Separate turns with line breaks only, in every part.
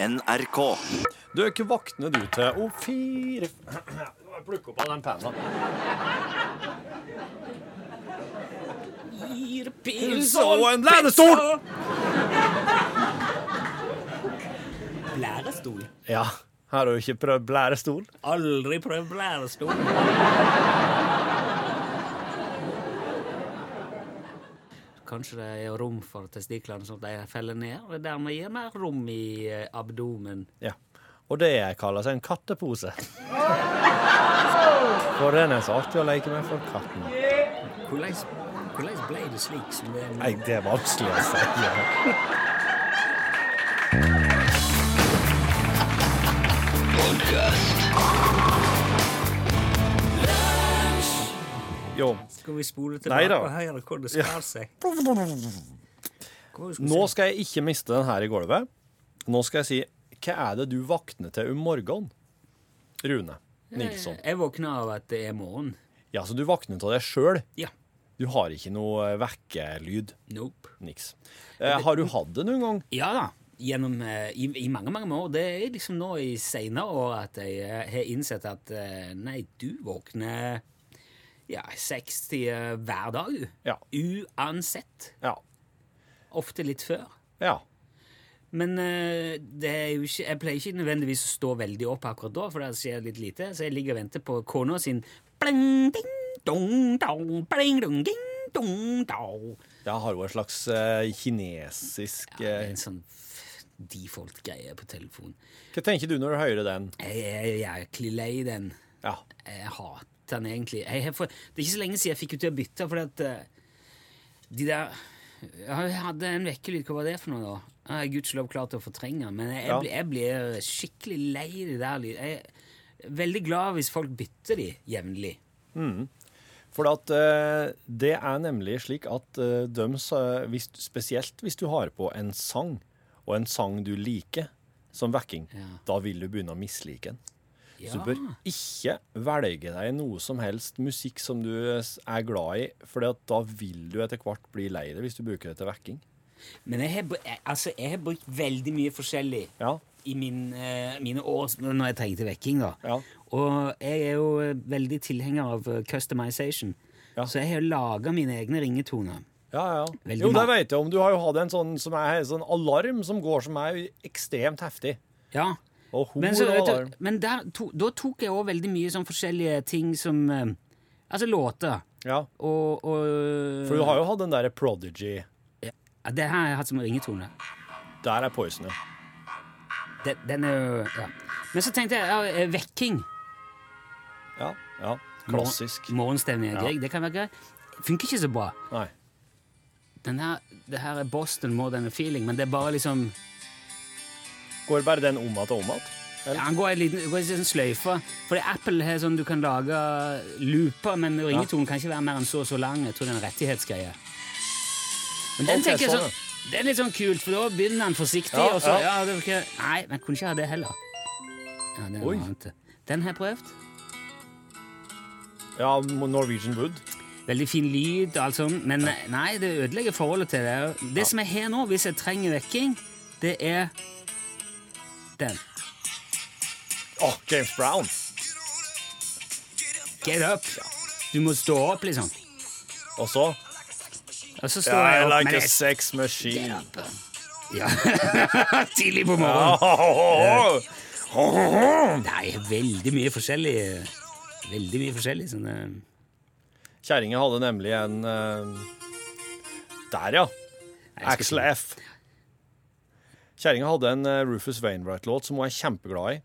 NRK.
Du, ikke våkner du til Å, fire Plukk opp av den penna.
Fire
Pils
pils
og en lænestol!
Blærestol.
Ja. Her har du ikke prøvd blærestol?
Aldri prøv blærestol. Kanskje det er rom for testiklene sånn at de feller ned, og dermed gir mer rom i eh, abdomen.
Ja. Og det kalles en kattepose. For den er så artig å leke med for katten.
Hvordan hvordan ble det slik som det er nå?
Nei, det er vanskelig å si. Jo.
Skal vi spole
Nei
tilbake
da.
og høre hvor det skar seg? Hvor skal vi
Nå
se?
skal jeg ikke miste den her i gulvet. Nå skal jeg si Hva er det du våkner til om morgenen? Rune Nilsson.
Jeg våkna av at det er morgen.
Ja, så du våkner av deg sjøl.
Ja.
Du har ikke noe vekkelyd.
Nope.
Niks. Eh, har du hatt det noen gang?
Ja da. Gjennom, eh, i, I mange mange år. Det er liksom nå i seinere år at jeg eh, har innsett at eh, nei, du våkner ja, 60 hver dag, du.
Ja.
Uansett.
Ja.
Ofte litt før.
Ja.
Men eh, det er jo ikke, jeg pleier ikke nødvendigvis å stå veldig opp akkurat da, for det skjer litt lite. Så jeg ligger og venter på kona sin bling, ding, dong, dong, bling, dong, ding, dong, dong.
Jeg har jo en slags eh, kinesisk
Det er
eh,
en sånn f- default-greie på telefonen.
Hva tenker du når du hører den?
Jeg er jæklig lei den.
Ja.
Jeg hater den egentlig. Jeg, har for, det er ikke så lenge siden jeg fikk ut til å bytte, for at eh, de der Jeg hadde en vekkelyd, hva var det for noe, da? Jeg har gudskjelov klart å fortrenge, den, men jeg, jeg,
Ja.
blir- jeg blir skikkelig lei i det der lyd. Jeg er veldig glad hvis folk bytter de jevnlig.
For at, eh, det er nemlig slik at eh, dem sa- hvis, Spesielt hvis du har på en sang, og en sang du liker, som vekking,
Ja.
da vil du begynne å mislike den. Så
Ja.
du bør ikke velge deg noe som helst musikk som du s- er glad i, for da vil du etter hvert bli lei det hvis du bruker det til vekking.
Men jeg har, br- jeg, altså, jeg har brukt veldig mye forskjellig
Ja.
i min, eh, mine år som- når jeg trengte vekking. da.
Ja.
Og jeg er jo eh, veldig tilhenger av eh, customization,
Ja.
så jeg har laga mine egne ringetoner.
Ja, ja.
Veldig
jo, det
ma-
vet jeg om. Du har jo hatt en sånn, som er, sånn alarm som går, som er ekstremt heftig.
Ja.
Og hor
Men, så,
og
vet
alarm.
du, men der, to, da tok jeg òg veldig mye sånn forskjellige ting som eh, Altså låter.
Ja.
Og, og
For du har jo hatt den derre Prodigy.
ja, Det her har jeg hatt som ringetone.
Der er Poison, ja.
Den, den er jo ja. Men så tenkte jeg ja, eh, vekking.
ja. Ja. Klassisk.
Mor- Morgenstemning er
Ja.
grei. Det kan være greit. Funker ikke så bra.
Nei.
Den her, det her er Boston more than a feeling, men det er bare liksom
Går bare den om igjen og om igjen?
ja, Han går en liten, går en liten sløyfe. Fordi Apple har sånn du kan lage looper, men ringetonen kan ikke være mer enn så og så lang. Jeg tror det er en rettighetsgreie. Men den
Ok,
tenker jeg
sånn,
sånn Det er litt sånn kult, for da begynner han forsiktig,
Ja,
og så ja.
ja.
det var ikke, Nei, men jeg kunne ikke ha det heller. Ja, det er noe
Oi.
annet. Den har jeg prøvd.
Ja, Norwegian Wood.
Veldig fin lyd og alt sånt, men nei, det ødelegger forholdet til det. Det som jeg har nå, hvis jeg trenger vekking, det er den.
Åh, James Brown.
Get up! Du må stå opp, liksom.
Og så
Og så står
I
jeg opp.
like a
men jeg
sex machine.
ja. Tidlig på morgenen.
Åhåhå.
Nei, veldig mye forskjellig. Veldig mye forskjellig. Sånn, eh,
Kjerringa hadde nemlig en eh, Der, ja.
jeg
Axel
skal
F. Kjerringa hadde en eh, Rufus Wainwright-låt som hun er kjempeglad i.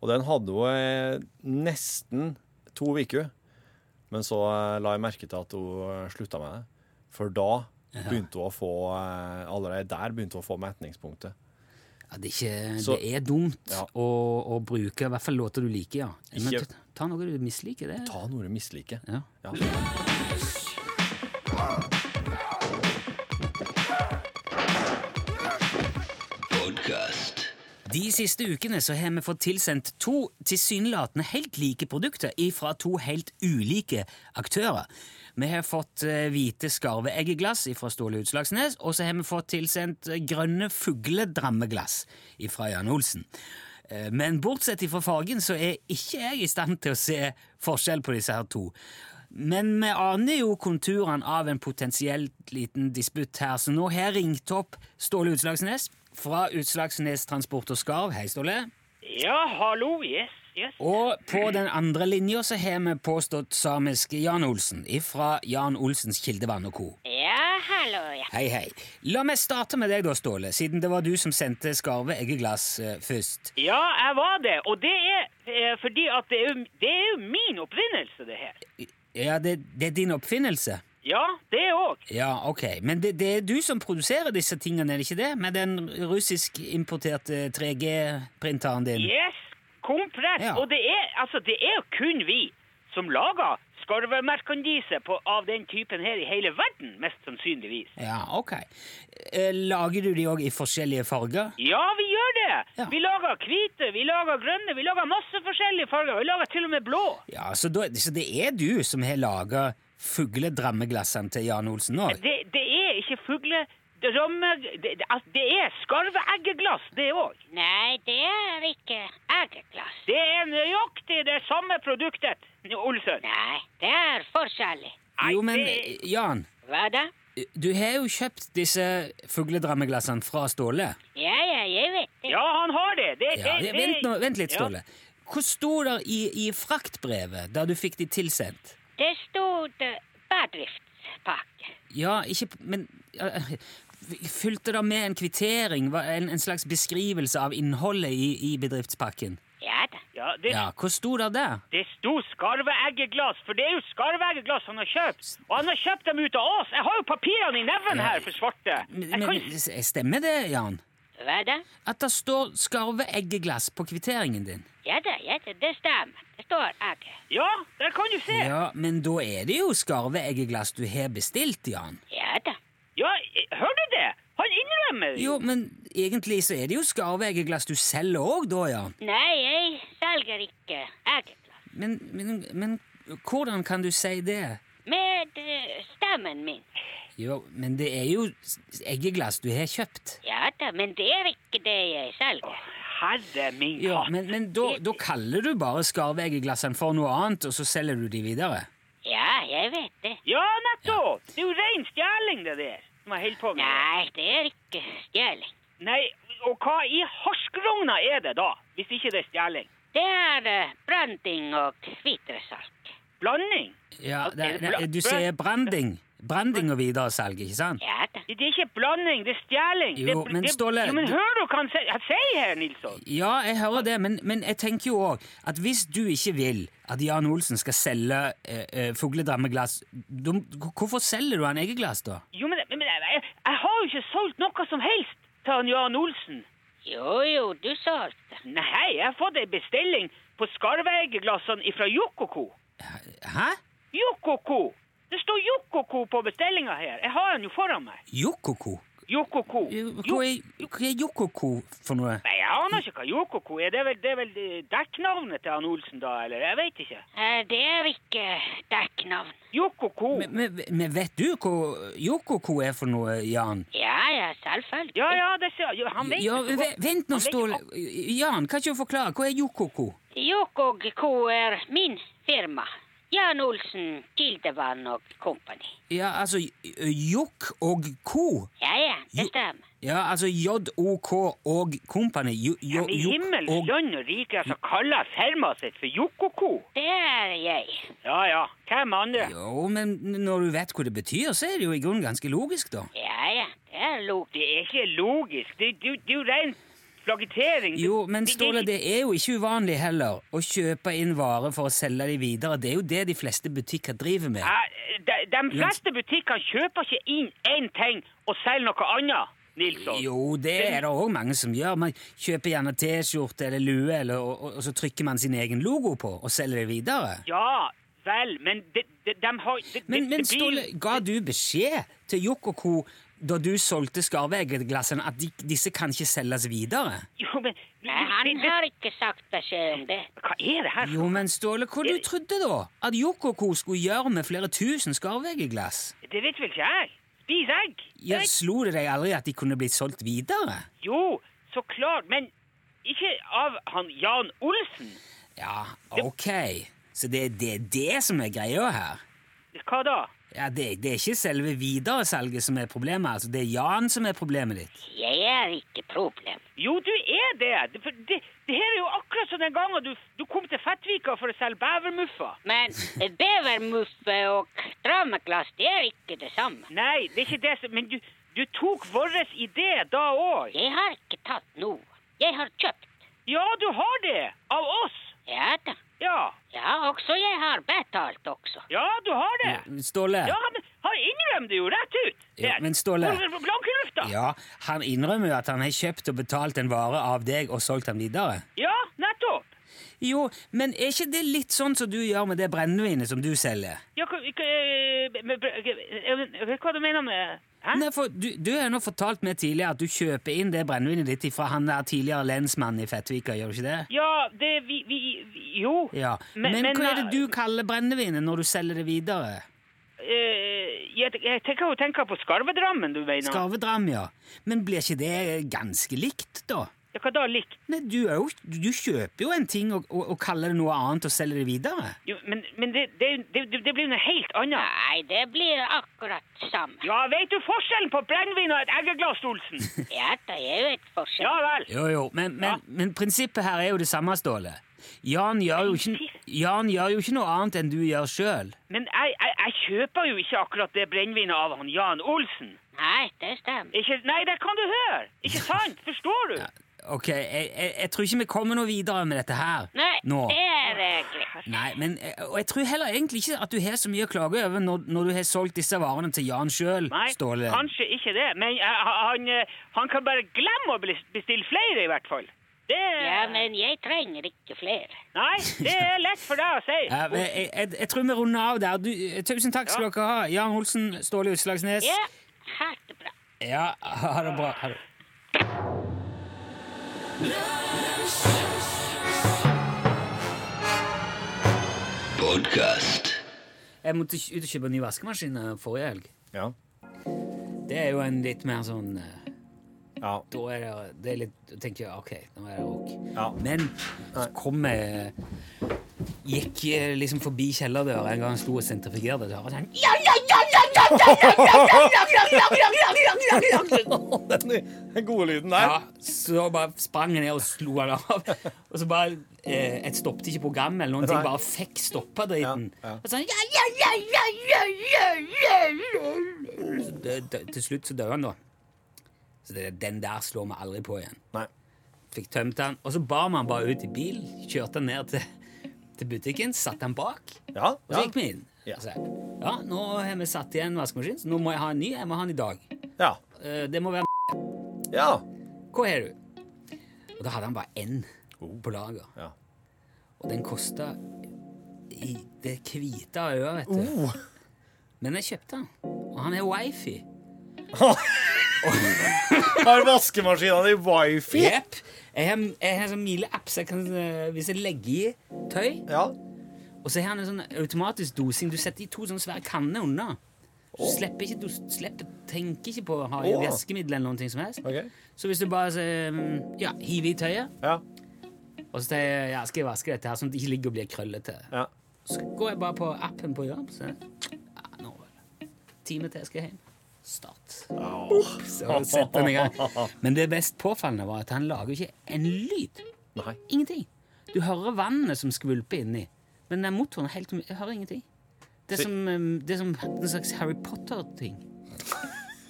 Og den hadde hun eh, nesten to uker. Men så eh, la jeg merke til at hun eh, slutta med det. For da begynte hun å få eh, Allerede der begynte hun å få metningspunktet.
ja, det, er ikke,
Så-
det er dumt
Ja.
å, å bruke i hvert fall låter du liker, ja. Men
Ikke-
ta, ta noe du misliker. det.
Ta noe du misliker.
Ja.
Ja.
De siste ukene så har vi fått tilsendt to tilsynelatende helt like produkter fra to helt ulike aktører. Vi har fått eh, hvite skarveeggeglass fra Ståle Utslagsnes, og så har vi fått tilsendt eh, grønne fugledrammeglass fra Jan Olsen. Eh, Men bortsett fra fargen så er ikke jeg i stand til å se forskjell på disse her to. Men vi aner jo konturene av en potensielt liten disputt her, så nå har jeg ringt opp Ståle Utslagsnes fra Utslagsnes Transport og Skarv. Hei, Ståle.
Ja, hallo, yes, yes.
Og på den andre linja så har vi påstått samiske Jan Olsen ifra Jan Olsens Kildevann og co.
Ja, hallo, ja.
Hei, hei. La meg starte med deg da, Ståle, siden det var du som sendte skarve eggeglass eh, først.
Ja, jeg var det, og det er eh, fordi at det er, jo, det er jo min oppfinnelse, det her.
Ja, det, det er din oppfinnelse?
Ja, det òg.
Ja, ok. Men det, det er du som produserer disse tingene, er det ikke det? Med den russisk-importerte 3G-printeren din?
Yes, komplett.
Ja.
Og det er, altså, det er jo kun vi som lager skarvemerkandise på- av den typen her i hele verden, mest sannsynligvis.
Ja, ok. Eh, Lager du de òg i forskjellige farger?
Ja, vi gjør det!
Ja.
Vi lager hvite, vi lager grønne, vi lager masse forskjellige farger. Vi lager til og med blå.
Ja, så, da, så det er du som har laga fugledrammeglassene til Jan Olsen òg?
Det, det er ikke fugle... Ramme, det, det- altså, det er skarveeggeglass, det òg.
Nei, det er ikke eggeglass.
Det er nøyaktig det samme produktet, Olsen.
Nei, det er forskjellig.
Nei,
Jo, men eh,
det-
Jan,
Hva da?
du har jo kjøpt disse fugledrammeglassene fra Ståle.
Ja, ja, jeg vet det.
Ja, han har det. det,
Ja,
det, det
vent, nå, vent litt,
Ja.
Ståle. Hva sto det i, i fraktbrevet der du fikk de tilsendt?
Det stod eh, bedriftspakke.
Ja, ikke p- Men ja, Fulgte det med en kvittering, hva- en, en slags beskrivelse av innholdet i, i bedriftspakken?
Ja da.
Ja, det,
Ja, Hva sto det der?
det sto skarveeggeglass, for det er jo skarveeggeglass han har kjøpt. Og han har kjøpt dem ut av oss. Jeg har jo papirene i neven her for svarte. Jeg
Men,
kan...
men, stemmer det, Jan?
Hva da?
At det står skarveeggeglass på kvitteringen din?
Ja da, ja da, det stemmer. Det står egg.
Ja, der kan du se.
Ja, men da er det jo skarveeggeglass du har bestilt, Jan.
Ja da.
Ja, hører du det? Han innrømmer det.
Jo, men egentlig så er det jo skarveeggeglass du selger òg, da, Jan.
Nei, jeg selger ikke eggeglass.
Men, men, men hvordan kan du si det?
Med eh, stemmen min.
Jo, men det er jo s- eggeglass du har kjøpt.
Ja da, men det er ikke det jeg selger.
Herre min
Ja,
hatt.
men, men da, da kaller du bare skarveeggeglassene for noe annet, og så selger du de videre.
Ja, jeg vet det.
Ja, nettopp! Det er jo ren stjeling, det der. som jeg holder på med.
Nei, det er ikke stjeling.
Nei, og hva i harskrogna er det da, hvis ikke det er stjeling?
Det er eh, branding og hvitresalt.
Blanding?
Ja, det, det, du sier branding. Branding og videresalg, ikke sant?
Ja da.
Det er ikke blanding, det er stjeling.
Jo,
det,
men
det,
Ståle,
Jo, men
du-
hører du hva han sier han sier her, Nilsson?
Ja, jeg hører det, men, men jeg tenker jo òg at hvis du ikke vil at Jan Olsen skal selge eh, eh, fugledrammeglass, da- hvorfor selger du han eggeglass da?
Jo, men, men jeg, jeg, jeg har jo ikke solgt noe som helst til han Jan Olsen.
Jo, jo, du solgte.
Nei, jeg har fått ei bestilling på skarveeggeglassene fra Jokoko.
Hæ?
Jokoko! Det står Jokoko på bestillinga her. Jeg har den jo foran meg.
Jokoko?
Jokoko.
Hva er, hva er jokoko for noe?
Nei, jeg aner ikke hva Jokoko er. Det er vel, det er vel eh, dekknavnet til han Olsen, da? Eller jeg vet ikke.
Eh, Det er ikke dekknavn.
Jokoko.
Men, men, men vet du hva jokoko er for noe, Jan?
Ja, ja, selvfølgelig.
Ja, ja, det ser jo, Han vet
Ja,
det så
ve-
godt.
vent nå,
Han vet jo
Ståle. Jan, kan ikke du forklare? Hva er jokoko?
Jokog Co. er min firma. Jan Olsen, Kildevann og Company.
Ja, altså j- jokk og ko.
Ja, ja,
Jo-
det stemmer.
Ja, altså JOK og company. Jo,
Ja,
jo,
men i
jokk
himmels
og
land og rike, altså, kaller jeg firmaet sitt for Jokoko.
Det er jeg.
Ja, ja. Hvem andre?
Jo, men når du vet hva det betyr, så er det jo i grunnen ganske logisk, da.
Ja, ja, det er log.
Det er ikke logisk. Det, det, det er jo ren flagitering.
Jo, men Ståle, det er jo ikke uvanlig heller å kjøpe inn varer for å selge de videre. Det er jo det de fleste butikker driver med.
Ja, De, de fleste butikker kjøper ikke inn én ting og selger noe annet, Nilsson.
Jo, det er det òg mange som gjør. Man kjøper gjerne T-skjorte eller lue, eller, og, og- og så trykker man sin egen logo på og selger det videre.
Ja vel, men de, de, de har det-
Men,
det-
men
det blir-
Ståle, ga du beskjed til Jokk og Co. da du solgte skarvegglassene, at de, disse kan ikke selges videre?
Jo, men
Nei, Eh, han har ikke sagt beskjed om det.
Hva er det her?
Jo, men Ståle, hva du trodde da? At Yoko Co skulle gjøre med flere tusen skarvegglass?
Det vet vel ikke jeg. Spis egg.
Ja,
Egg.
slo det deg aldri at de kunne blitt solgt videre?
Jo, så klart. Men ikke av han Jan Olsen.
Ja, ok. Så det, det er det som er greia her?
Hva da?
Ja, det, det er ikke selve videresalget som er problemet, altså. Det er Jan som er problemet ditt.
Jeg er ikke problem.
Jo, du er det. Det, for det, det her er jo akkurat som den gangen du, du kom til Fettvika for å selge bevermuffa.
Men bevermuffe og drammeglass, det er ikke det samme.
Nei, det er ikke det som Men du, du tok vår idé da òg.
Jeg har ikke tatt noe. Jeg har kjøpt.
Ja, du har det. Av oss.
Ja da.
Ja.
Ja, også jeg har betalt også.
Ja, du har det.
Ståle?
Ja, men han innrømmer det jo rett ut.
Ja,
Der.
men Ståle-
Hvor- hvor Blank i lufta.
Ja, han innrømmer jo at han har kjøpt og betalt en vare av deg og solgt den videre.
ja, nettopp.
Jo, men er ikke det litt sånn som du gjør med det brennevinet som du selger?
Ja, hva, hva, eh, men- eh, hva du mener med Hæ?
Nei, for du, du har nå fortalt meg tidligere at du kjøper inn det brennevinet ditt fra han der tidligere lensmannen i Fettvika, gjør du ikke det?
Ja, det vi, vi, vi Jo.
Ja, men, hva er det du kaller brennevinet når du selger det videre?
eh, jeg, jeg tenker jo tenker på skarvedrammen, du mener.
Skarvedram, ja. Men blir ikke det ganske likt, da?
Ja, hva da likt?
Nei, du, er jo, du kjøper jo en ting og, og, og kaller det noe annet og selger det videre.
Jo, men men det, det, det, det blir jo noe helt annet.
Nei, det blir akkurat samme.
Ja, vet du forskjellen på brennevin og et eggeglass, Olsen?
Ja da, jeg vet forskjell.
Ja vel.
Jo, jo, men, men,
Ja.
men prinsippet her er jo det samme, Ståle. Jan gjør jo ikke, Jan gjør jo ikke noe annet enn du gjør sjøl.
Men jeg, jeg, jeg kjøper jo ikke akkurat det brennevinet av han Jan Olsen.
Nei, det stemmer.
Ikke, nei, det kan du høre! Ikke sant? Forstår du?
Ok, jeg, jeg, jeg tror ikke vi kommer noe videre med dette her
Nei,
nå.
det er egentlig.
Nei, men, og jeg tror heller egentlig ikke at du har så mye å klage over når, når du har solgt disse varene til Jan sjøl,
Nei,
Ståle.
kanskje ikke det. Men eh, han, eh, han kan bare glemme å bli- bestille flere, i hvert fall. Det,
Ja, men jeg trenger ikke flere.
Nei, det er lett for deg å si.
Ja, men jeg, jeg, jeg tror vi runder av der. Du, tusen takk skal
Ja.
dere ha. Jan Olsen, Ståle Utslagsnes.
Ja, ha det bra.
Ja, ha det bra. Ha det.
Podcast.
Jeg måtte ut og kjøpe en ny vaskemaskin eh, forrige helg.
Ja.
Det er jo en litt mer sånn eh,
ja.
da er det, det er litt, da tenker jeg, ok, nå er det rock.
Ja.
Men så kom jeg, gikk jeg liksom forbi kjellerdøra en gang jeg sto og sentrifugerte døra, og sånn, ja, ja, ja, ja, ja, ja, ja, ja, ja, ja, ja, ja, ja, ja, ja, ja, ja.
Den, den gode lyden der.
Ja, så bare sprang jeg ned og slo han av. Og så bare, eh, jeg stoppet ikke programmet eller noen ting,
Nei.
bare fikk stoppet driten.
Ja, ja.
Og sånn, ja, ja, ja, ja, ja, ja, ja, ja. Så dø- dø- Til slutt så døde han da. Så det, den der slår meg aldri på igjen
Nei.
fikk tømt den, og så bar man bare ut i bil, kjørte den ned til, til butikken, satte den bak,
Ja,
og så
ja.
gikk vi inn.
Ja.
Og sa, ja, nå har vi satt igjen vaskemaskinen, så nå må jeg ha en ny, jeg må ha den i dag.
Ja.
Eh, Det må være,
ja.
hva har du? Og da hadde han bare en på lager,
ja.
og den kostet i det hvite øya, vet du.
Oh.
Men jeg kjøpte den, og han er wifi.
Har vaskemaskina di wifi?
Jep, jeg har, jeg har en sånn mileapp, så jeg kan, eh, hvis jeg legger i tøy,
Ja.
Og så har han en sånn automatisk dosing. Du setter i to sånne svære kanner unna. Du slipper ikke, du slipper, tenker ikke på å ha i
Åh.
væskemiddel eller noe som helst.
Ok.
Så hvis du bare så, ja, hiver i tøyet,
Ja.
og så tenker jeg, ja, skal jeg vaske dette her sånn at det ikke ligger og blir krøllete,
ja.
så går jeg bare på appen på jobb, så ja, nå time til jeg skal hjem. Start. Så setter den i gang. Men det best påfallende var at han lager ikke en lyd.
Nei.
Ingenting. Du hører vannet som skvulper inni, men den motoren er helt um- Jeg hører ingenting. Det er
Så-
som, um, det er som en slags Harry Potter-ting.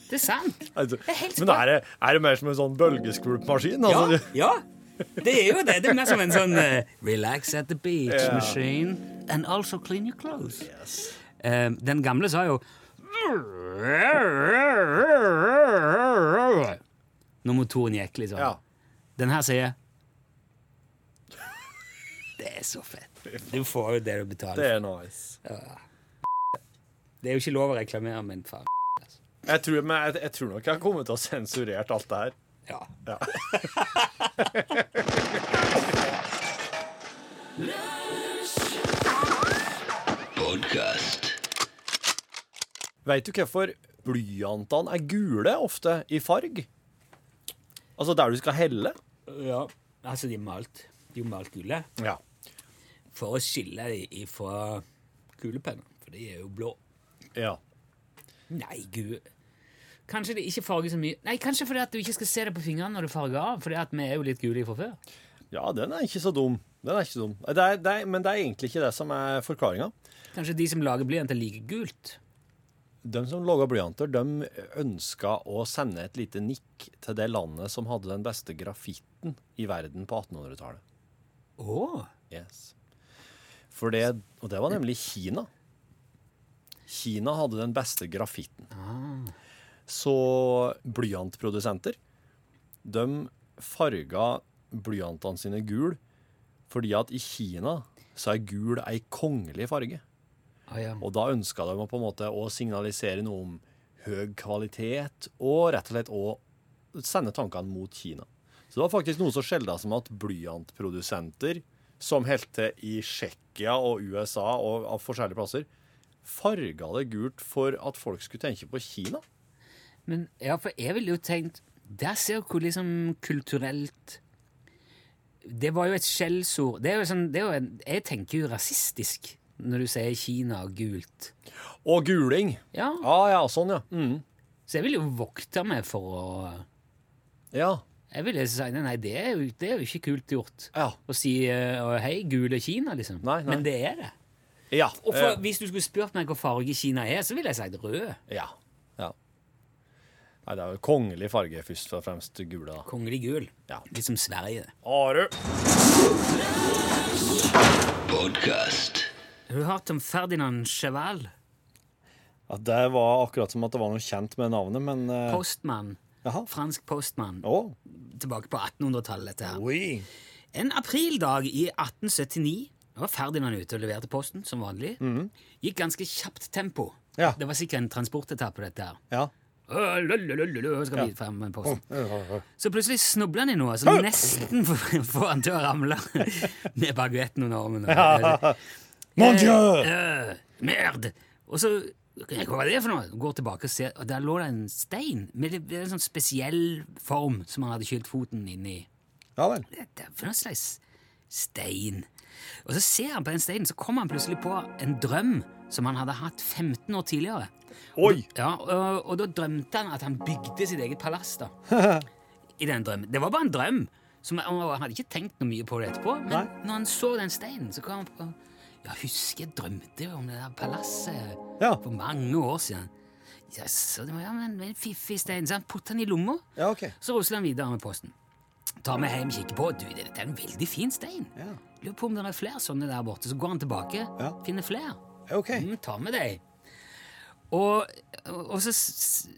Det er sant.
Altså,
Det er helt
men er det, er det mer som en sånn bølgeskvulpmaskin? Altså,
ja. Det er jo det. Det er mer som en sånn eh, relax at the
Ja.
beach-maskin. And also clean your clothes.
Yes.
Eh, den gamle sa jo Når motoren gikk, liksom.
Ja.
Den her sier Det er så fett. Du får jo det du betaler
Det
for.
er nice.
Det er jo ikke lov å reklamere, men faen.
Jeg tror, men jeg, jeg tror nok jeg kommer til å ha sensurert alt det her.
Ja.
Veit du hvorfor blyantene er gule ofte i farg? Altså der du skal helle?
ja. Altså, de er malt, de er jo malt gule
Ja.
for å skille dem fra kulepennene, for de er jo blå.
ja.
Nei, gud. Kanskje det ikke farger så mye. Nei, Kanskje fordi at du ikke skal se det på fingrene når du farger av, fordi at vi er jo litt gule fra før.
Ja, den er ikke så dum. Den er ikke så dum. Det er, det er, men det er egentlig ikke det som er forklaringa.
Kanskje de som lager blyanter, liker gult.
De som laga blyanter, de ønska å sende et lite nikk til det landet som hadde den beste grafitten i verden på 1800-tallet.
Å!
Yes. For det, og det var nemlig Kina. Kina hadde den beste grafitten. Så blyantprodusenter, de farga blyantene sine gul, fordi at i Kina så er gul ei kongelig farge.
Ah, ja.
Og da ønska de å på en måte å signalisere noe om høy kvalitet, og rett og slett å sende tankene mot Kina. Så det var faktisk noe så sjelda som at blyantprodusenter som holdt til i Tsjekkia og USA og av forskjellige plasser, farga det gult for at folk skulle tenke på Kina.
Men ja, for jeg ville jo tenkt Der ser du hvor liksom kulturelt Det var jo et skjellsord. Det er jo sånn det er jo en, Jeg tenker jo rasistisk når du sier Kina og gult.
Og guling!
Ja,
Ah, ja, sånn, ja. Mm.
Så jeg ville jo vokte meg for å
Ja.
Jeg ville si nei, nei, det er jo, det er jo ikke kult gjort
Ja.
å si eh, å, hei, gule Kina, liksom.
Nei, nei.
Men det er det.
Ja.
Og for,
eh,
hvis du skulle spurt meg hva farge Kina er, så ville jeg sagt rød.
ja. ja. Nei, det er jo kongelig farge, først og fremst gula. da.
Kongelig gul.
Ja.
Litt som Sverige.
Are.
Har du hørt om Ferdinand Cheval?
Ja, det var akkurat som at det var noe kjent med navnet, men eh,
Postmann.
Jaha.
Fransk postmann.
Å.
Tilbake på 1800-tallet. dette her. En aprildag i 1879 da var Ferdinand ute og leverte posten som vanlig. Gikk ganske kjapt tempo.
Mhm. Ja.
Det var sikkert en transportetappe, dette her.
Ja.
Øh, lululululu, Skal vi frem med posten. Så plutselig snubler han i noe som nesten får får han til å ramle med baguetten under armen.
Mon
Eh, eh, merd! Og så Hva var det for noe? Går tilbake og ser, og der lå det en stein med litt- det er en sånn spesiell form som han hadde kylt foten inn i.
Ja vel.
Det er for noen slags stein. Og så ser han på den steinen, så kommer han plutselig på en drøm som han hadde hatt 15 år tidligere.
Oi!
Ja, og, og da drømte han at han bygde sitt eget palass, da. I den drømmen. Det var bare en drøm. Som, og han hadde ikke tenkt noe mye på det etterpå, men
Nei.
når han så den steinen, så kom han på Ja, husker jeg drømte jo om det der palasset
Ja.
for mange år siden. Yes, og det var ja, men en fiffig stein, så han puttet den i lomma.
Ja, OK.
Så rusler han videre med posten. Tar med hjem, kikker på. Du, dette er en veldig fin stein.
Ja.
Lurer på om det er flere sånne der borte. Så går han tilbake,
Ja.
finner flere.
OK.
Mm, ta med deg. Og, og så s- s-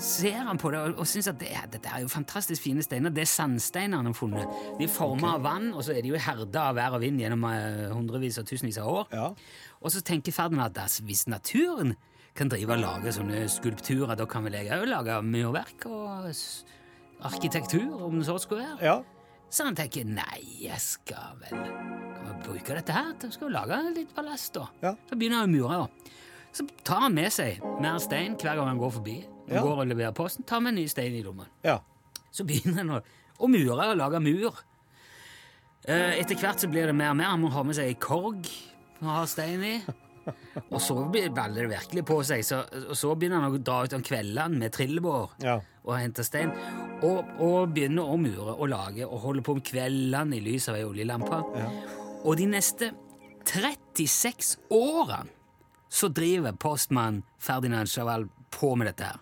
ser han på det og, og syns at det, er- dette er jo fantastisk fine steiner. Det er sandsteiner han har funnet. De er forma av vann, og så er de jo herda av vær og vind gjennom eh, hundrevis og tusenvis av år.
Ja.
Og så tenker Ferdinand at altså, hvis naturen kan drive og lage sånne skulpturer, da kan vel jeg òg lage murverk og s- arkitektur, om det så skulle være.
Ja.
Så han tenker nei, jeg skal vel kan vi bruke dette her til skal vi lage litt ballast, da.
Ja.
Så begynner han å mure. da. Så tar han med seg mer stein hver gang han går forbi. Han
Ja.
går og leverer posten, tar med en ny stein i lommen.
Ja.
Så begynner han å, å mure og lage mur. Eh, Etter hvert så blir det mer og mer. Han må ha med seg ei korg å ha stein i. Og så blir- baller det virkelig på seg, så, og så begynner han å dra ut om kveldene med trillebår
Ja.
og hente stein. Og, og begynner å mure og lage og holde på om kveldene i lys av ei oljelampe. Og de neste 36 årene så driver postmann Ferdinand Chaval på med dette her.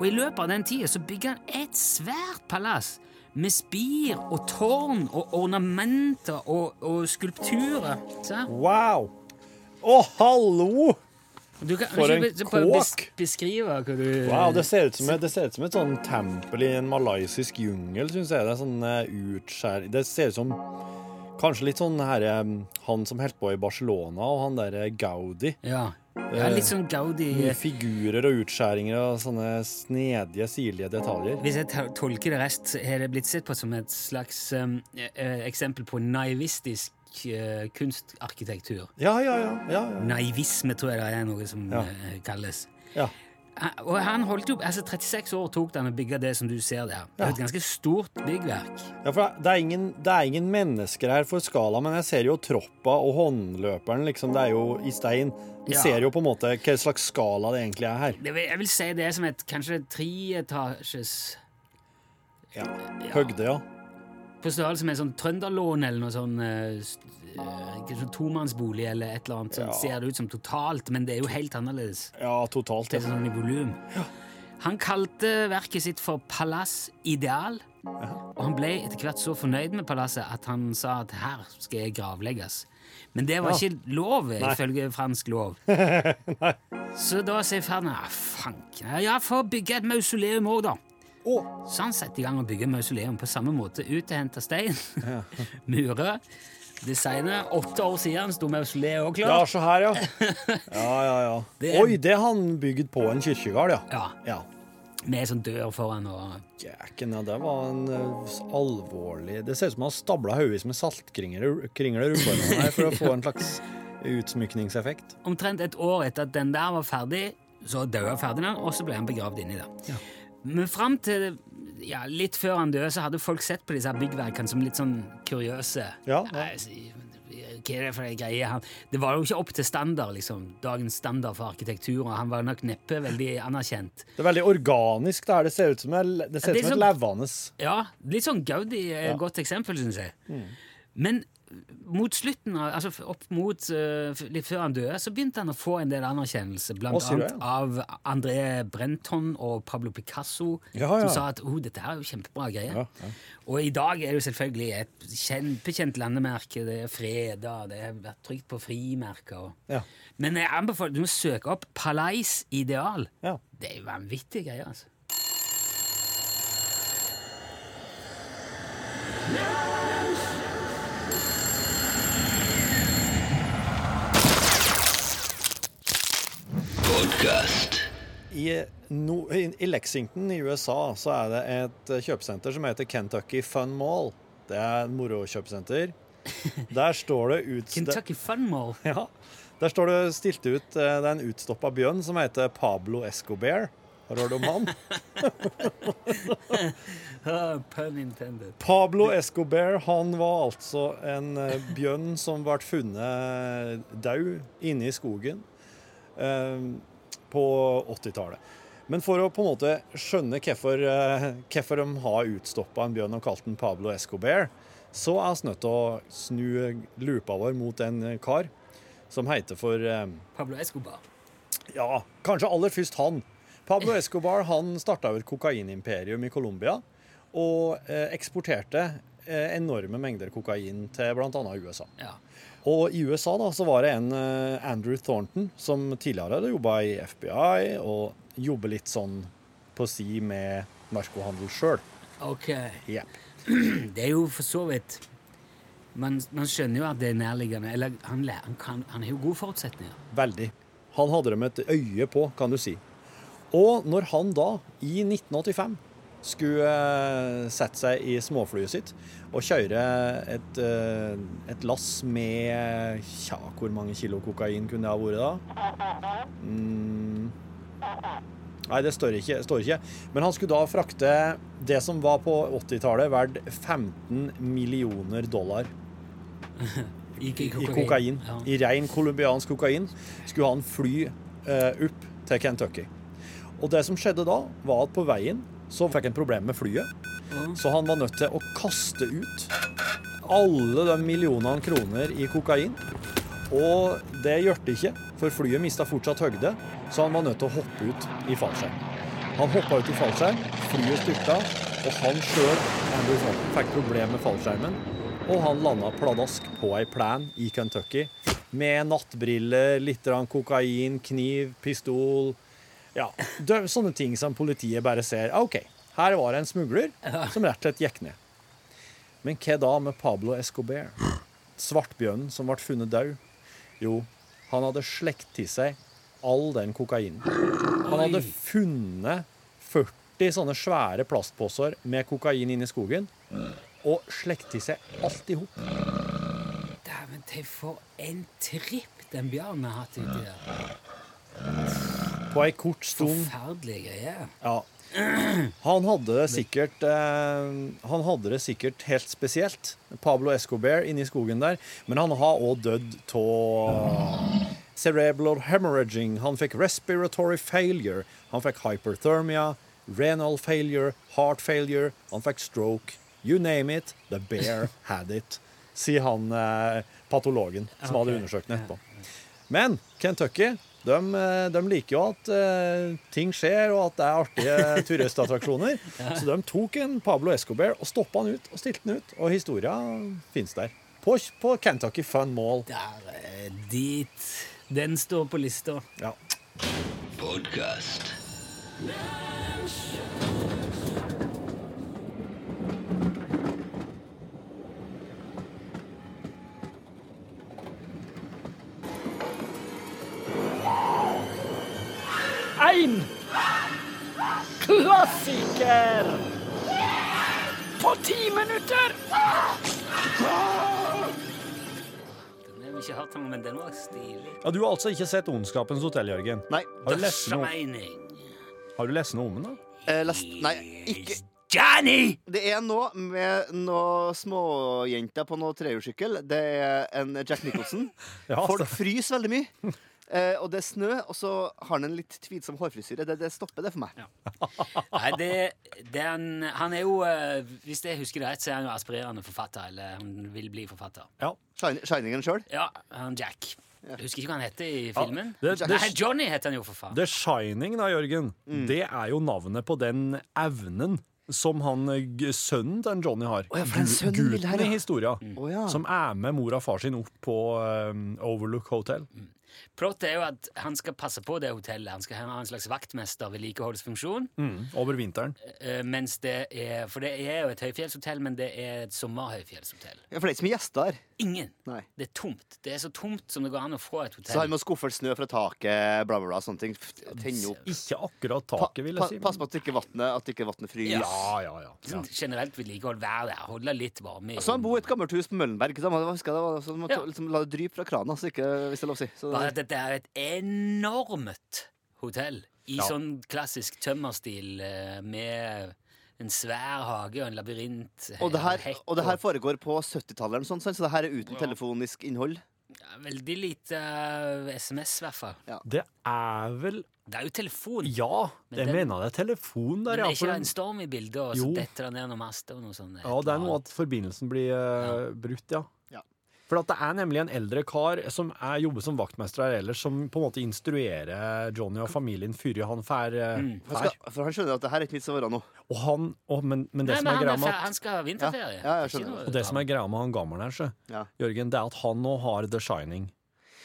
Og i løpet av den tida så bygger han et svært palass med spir og tårn og ornamenter og, og skulpturer. Se her.
Wow. Å, hallo!
Du kan,
For en
ikke be- prøve å bes-
kåk!
Beskrive hva du
Wow, det ser ut som et, det ser ut som et sånn tempel i en malaysisk jungel, syns jeg. Det er sånn eh, utskjær... Det ser ut som Kanskje litt sånn her, eh, han som holdt på i Barcelona, og han der eh, Gaudi.
Ja. ja litt sånn Gaudi.
Mye Figurer og utskjæringer og sånne snedige, sirlige detaljer.
Hvis jeg tol- tolker det rest, så har det blitt sett på som et slags um, eh, eh, eksempel på naivistisk eh, kunstarkitektur.
Ja, ja, ja. ja, ja.
Naivisme tror jeg det er noe som
Ja.
eh, kalles.
ja.
Han- Og han holdt jo, altså 36 år tok det han å bygge det som du ser der. Det er
Ja.
jo et ganske stort byggverk.
ja for det er, ingen, det er ingen mennesker her for skala, men jeg ser jo troppa og håndløperen, liksom. Det er jo i stein. Vi
Ja.
ser jo på en måte hva slags skala det egentlig er her.
Det, vil- jeg vil si det er som et kanskje treetasjes
Ja. Høgde, ja.
På størrelse med en sånn trønderlån eller noe sånn eh, st- eh, kanskje en tomannsbolig eller et eller annet. Sånn,
Ja.
Ser det ut som totalt, men det er jo helt annerledes.
Ja, totalt.
Det er
Ja.
sånn i volym. Han kalte verket sitt for Palass Ideal, og han ble etter hvert så fornøyd med palasset at han sa at her skal jeg gravlegges. Men det var ikke lov, ifølge fransk lov. så da sier Ferdinand ah, fanken, ja, for å bygge et mausoleum òg, da. Så han setter i gang å bygge mausoleum på samme måte. Ut og hente stein, mure, designe. Åtte år siden sto mausoleet òg
Ja,
klart.
se her, ja. Ja, ja, ja.
Det er-
Oi, det er han bygd på en kirkegård, ja.
Ja,
Ja.
med sånn dør foran og
Jæken, ja, det var en eh, alvorlig Det ser ut som han stabla hodevis med saltkringler kringler rundt armene her for å få en slags utsmykningseffekt.
Omtrent et år etter at den der var ferdig, så døde Ferdinand, og så ble han begravd inni der. Men fram til ja, litt før han døde, så hadde folk sett på disse her byggverkene som litt sånn kuriøse.
Ja, ja.
Nei, altså, Hva er det for ei greie? Han- Det var jo ikke opp til standard, liksom. Dagens standard for arkitektur, og han var nok neppe veldig anerkjent.
Det er veldig organisk, det her. Det ser ut som, en- det ser
Ja, det
ut
er
som et
sånn-
levende
Ja, litt sånn Gaudi er et godt eksempel, syns jeg.
Mm.
Men mot slutten, av- altså f- opp mot eh, f- litt før han døde, så begynte han å få en del anerkjennelse, blant
Å, sier du det?
annet av André Brenton og Pablo Picasso,
Ja, ja.
som sa at oh, dette her er jo kjempebra greier.
Ja, ja.
Og i dag er det jo selvfølgelig et kjempekjent landemerke, det er freda, det har vært trygt på frimerker. og-
Ja.
Men jeg anbefaler du må søke opp Palais Ideal.
Ja.
Det er jo vanvittige greier, altså.
I, no, i, I Lexington i USA så er det et eh, kjøpesenter som heter Kentucky Fun Mall. Det er et morokjøpesenter. Der står det ut
Kentucky Fun Mall.
Ja. Der står det stilt ut eh, det er en utstoppa bjørn som heter Pablo Escobar. Har du hørt om han?
Ah, Pun intended.
Pablo Escobar han var altså en eh, bjørn som ble funnet død inne i skogen eh, på 80-tallet. Men for å på en måte skjønne hvorfor, eh, hvorfor de har utstoppa en bjørn og kalt den Pablo Escobar, så er vi nødt til å snu lupa vår mot en kar som heter for eh,
Pablo Escobar.
Ja, kanskje aller først han. Pablo Escobar han starta jo et kokainimperium i Colombia og eh, eksporterte eh, enorme mengder kokain til bl.a. USA.
Ja.
Og i USA da, så var det en eh, Andrew Thornton som tidligere hadde jobba i FBI og jobber litt sånn på si med narkohandel sjøl.
Ok.
Yep.
Det er jo for så vidt man, man skjønner jo at det er nærliggende. Eller han, lær- han, kan, han har jo gode forutsetninger.
Veldig. Han hadde dem et øye på, kan du si. Og når han da, i 1985, skulle eh, sette seg i småflyet sitt og kjøre et, eh, et lass med Tja, hvor mange kilo kokain kunne det ha vært da? Mm. Nei, det står ikke, står ikke. Men han skulle da frakte det som var på 80-tallet verdt 15 millioner dollar
I, i
i kokain.
Ja.
I ren colombiansk kokain skulle han fly eh, opp til Kentucky. Og det som skjedde da, var at på veien så fikk han problemer med flyet.
Mm.
Så han var nødt til å kaste ut alle de millionene kroner i kokain. Og det gjorde det ikke, for flyet mista fortsatt høgde, så han var nødt til å hoppe ut i fallskjerm. Han hoppa ut i fallskjerm, flyet styrta, og han sjøl fikk problemer med fallskjermen. Og han landa pladask på ei plen i Kentucky med nattbriller, litt grann kokain, kniv, pistol Ja, dø- sånne ting som politiet bare ser. Ah, OK, her var det en smugler som rett og slett gikk ned. Men hva da med Pablo Escobar? Svartbjørnen som ble funnet død? Jo, han hadde slekt til seg all den kokainen. Han hadde funnet 40 sånne svære plastposer med kokain inni skogen, og slekt til seg alt i hop.
Dæven, tenk for en tripp den bjørnen har hatt uti der.
På ei kort stund
Forferdelige greier.
Ja. Han hadde det sikkert eh, Han hadde det sikkert helt spesielt, Pablo Escobar inni skogen der, men han har òg dødd av cerebral hemorrhaging. Han fikk respiratory failure, han fikk hyperthermia, renal failure, heart failure, han fikk stroke. You name it, the bear had it, sier han eh, patologen som
Ok.
hadde undersøkt den etterpå. Men Kentucky de, eh, de liker jo at eh, ting skjer, og at det er artige turistattraksjoner. Så de tok en Pablo Escobar og stoppa han ut og stilte han ut. Og historia fins der. På, på Kentucky Fun Mall.
Der er dit. Den står på lista.
Ja.
Podcast.
Ein klassiker på ti minutter.
Den har vi ikke hatt, men den var stilig.
ja, Du har altså ikke sett Ondskapens hotell, Jørgen?
Nei.
Har du lest noe,
Mening.
har du lest noe om den? da?
Eh, last, nei, ikke
Johnny!
Det er noe med noen småjenter på noe trehjulssykkel. Det er en Jack Nicholson.
Ja,
Folk
altså.
fryser veldig mye. Eh, og det er snø, og så har han en litt tvilsom hårfrisyre. Det, det stopper det for meg.
Nei, det, det er en, han er jo, eh, hvis jeg husker det rett, så er han jo aspirerende forfatter, eller han vil bli forfatter.
Ja.
Shin- Shiningen sjøl.
Ja, han Jack. Jeg husker ikke hva han heter i filmen.
det- det-
Nei, Johnny heter han jo, for faen.
The Shining, da, Jørgen,
Mm.
det er jo navnet på den evnen som han, g- sønnen til en Johnny har.
ja, for den
Gu-
sønnen vil her,
Gutten
ja. Mm.
i historia.
Å, ja.
Som er med mor og far sin opp på eh, Overlook Hotel.
Mm.
Plottet er jo at han skal passe på det hotellet. Han skal ha en slags vaktmester vedlikeholdsfunksjon.
Mm.
Mm. Over vinteren.
Eh, mens det er, for det er jo et høyfjellshotell, men det er et sommerhøyfjellshotell.
Ja, for det er ikke så mye gjester her.
Ingen.
Nei.
Det er tomt. Det er så tomt som det går an å få et
Så han
hotell.
må skuffe snø fra taket, bla, bla, bla. Sånne ting. F- Tenne opp.
Ikke akkurat
Pa,
taket, vil
pa,
jeg si. men-
pass på at ikke vannet at ikke vannet fryser.
Ja, ja, ja.
Sånn generelt vedlikehold. Vær der, holde litt varme. i
Så han
rommet.
bor i et gammelt hus på Møllenberg. Så man, husker, jeg det var, så man
Ja.
liksom, la det drype fra krana, så ikke, hvis det er lov å si. Så,
Bare at dette er et enormt hotell i
Ja.
sånn klassisk tømmerstil eh, med en svær hage og en labyrint. eh,
og, det her,
hekk
og det her foregår på 70-tallet, eller noe sånt, sant? så det her er uten telefonisk innhold.
ja, Veldig lite eh, SMS, i hvert fall.
Det er vel
Det er jo telefon.
Ja,
Men
jeg
den-
mener det er telefon der,
Men det
ja.
er ikke
for-
en storm i bildet, og så
Jo.
detter det ned noen master og noe sånn, eh, sånt.
Ja, det er noe at forbindelsen blir eh, brutt, ja.
Ja.
For at det er nemlig en eldre kar som er, jobber som vaktmester her ellers, som på en måte instruerer Johnny og familien før han fær. eh,
For,
fær.
skal, for Mm. han skjønner at det her er ikke vits å være nå.
Og han, og, men, men det
Nei,
som
men
er
han,
greia
er
med
fer-
at
han skal ha vinterferie.
Ja, ja, jeg
Det er ikke
skjønner.
noe-
og det som er greia med han gammelen her, så,
Ja.
Jørgen, det er at han nå har The Shining.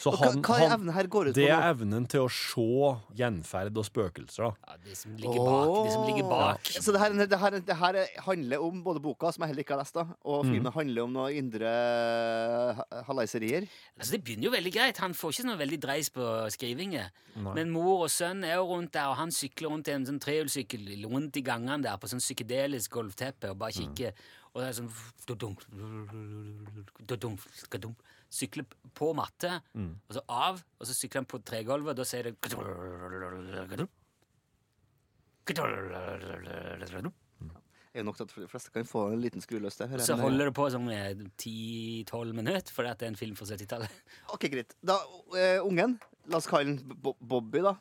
Så
Og hva,
han,
hva er
han,
evnen her går ut
det
på
er
nå?
evnen til å se gjenferd og spøkelser. Da.
ja, de som ligger bak. De som ligger bak.
Åh. Så det her, det, her, det her handler om både boka, som jeg heller ikke har lest, da,
Mm.
og filmen handler om noen indre ha- halaiserier.
Altså, det begynner jo veldig greit. Han får ikke sånn veldig dreis på skrivinger.
Nei.
Men mor og sønn er jo rundt der, og han sykler rundt i en sånn trehjulssykkel rundt i gangene der på sånn psykedelisk golfteppe og
Mm.
bare kikker. Og det er sånn dodunk, dodunk, dodunk. Sykler på matte,
Mm.
og så av, og så sykler han på tregulvet, og da sier det
Det er jo nok til at de fleste kan få en liten skruløs der.
Så holder det på sånn eh, 10-12 minutter, fordi at det er en film fra 70-tallet.
Ok, greit. Da, eh, ungen, la oss kalle han Bo- Bobby, da.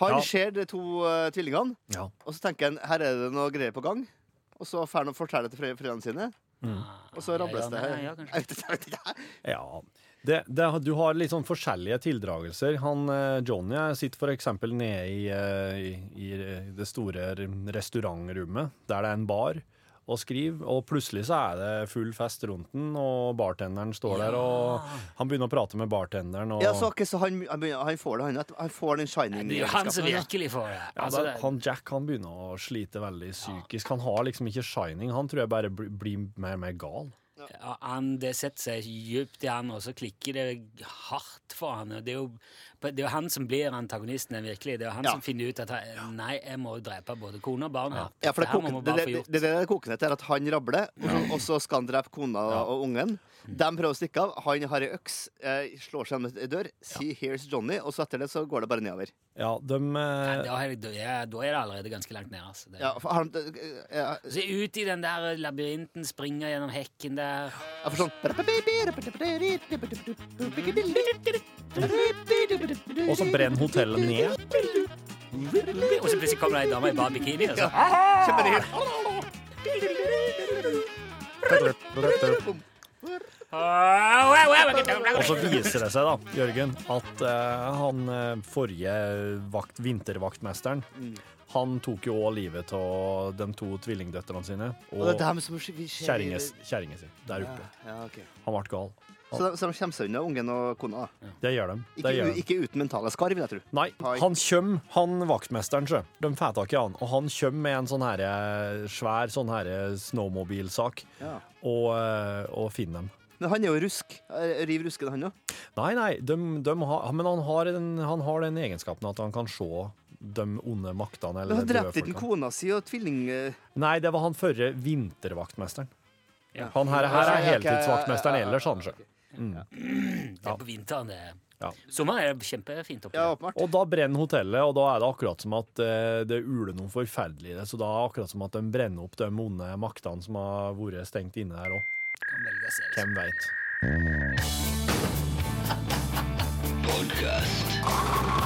Han
Ja.
ser de to eh, tvillingene,
Ja.
og så tenker han her er det noe greier på gang. Og så får han fortelle det til fre- foreldrene sine, og så rables
ja,
det
ja, ja,
her.
kanskje.
Jeg vet ikke, jeg vet ikke.
Ja. Det, det, du har litt sånn forskjellige tildragelser. Han, eh, Johnny sitter for eksempel nede i, eh, i, i det store restaurantrommet, der det er en bar, og skriver. Og plutselig så er det full fest rundt den, og bartenderen står der, og han begynner å prate med bartenderen. Og,
Ja, så, ok, så han, han, begynner- han får det, han. at- Han får den shining
Det er jo han som
egenskapen, da.
virkelig får det.
Ja,
Altså,
da,
det-
han Jack han begynner å slite veldig psykisk. Han har liksom ikke shining. Han tror jeg bare bli- blir mer og mer gal.
Ja, han, det setter seg djupt i han, og så klikker det hardt for han. Og det, er jo, det er jo han som blir antagonisten den virkelige. Det er jo han
Ja.
som finner ut at han, nei, jeg må drepe både kone og barn her.
Ja, for
Dette
det,
her
koker-
må vi
det,
bare
det,
få
det,
gjort.
det, det koker ned til at han rabler, og så skal han drepe kona og ungen. De prøver å stikke av. Han har ei øks, eh, slår seg gjennom ei dør, sier 'here's Johnny', og så etter det så går det bare nedover.
Ja, de
Nei,
eh,
da, er, det- da er det allerede ganske langt ned. Altså. Det,
Ja, for har de, ja,
Så ut i den der labyrinten, springer gjennom hekken der.
jeg får sånn
Og så brenner hotellet ned.
Og så plutselig kommer det ei dame i bar bikini. altså. Og så,
Og så viser det seg, da, Jørgen, at eh, han eh, forrige vakt, vintervaktmesteren han tok jo òg livet av de to tvillingdøtrene sine
Og det er
og
dem som vi ser-
kjerringa si der oppe.
Ja, ok.
Han ble gal.
Så de, så de kommer seg unna, ungen og kona? da.
Det gjør de.
Ikke,
Det gjør
u-
de.
ikke uten mentale skar, vil jeg tro.
Nei,
Oi.
han kjøm, han vaktmesteren, sjø. De får tak i han. Og han kjøm med en sånn her eh, svær sånn her eh, snowmobilsak
Ja.
og, eh, og finner dem.
Men han er jo rusk. Eh, Riv rusken, han òg.
Nei, nei, de, de har, men han har, den, han har den egenskapen at han kan se de onde maktene.
Men
Eller
han
de døde
drepte ikke
folkene.
kona si og tvilling... eh,
Nei, det var han førre vintervaktmesteren. Han her, her er
Ja, ok,
heltidsvaktmesteren
ja, ja, ja,
ellers, han sjø.
det er på vinteren, det.
Ja.
Sommeren er det kjempefint oppi
Ja,
der.
åpenbart.
Og da brenner hotellet, og da er det akkurat som at eh, det uler noe forferdelig i det. Så da er det akkurat som at de brenner opp de onde maktene som har vært stengt inne her òg.
Kan velge selv.
Hvem veit.
Podcast.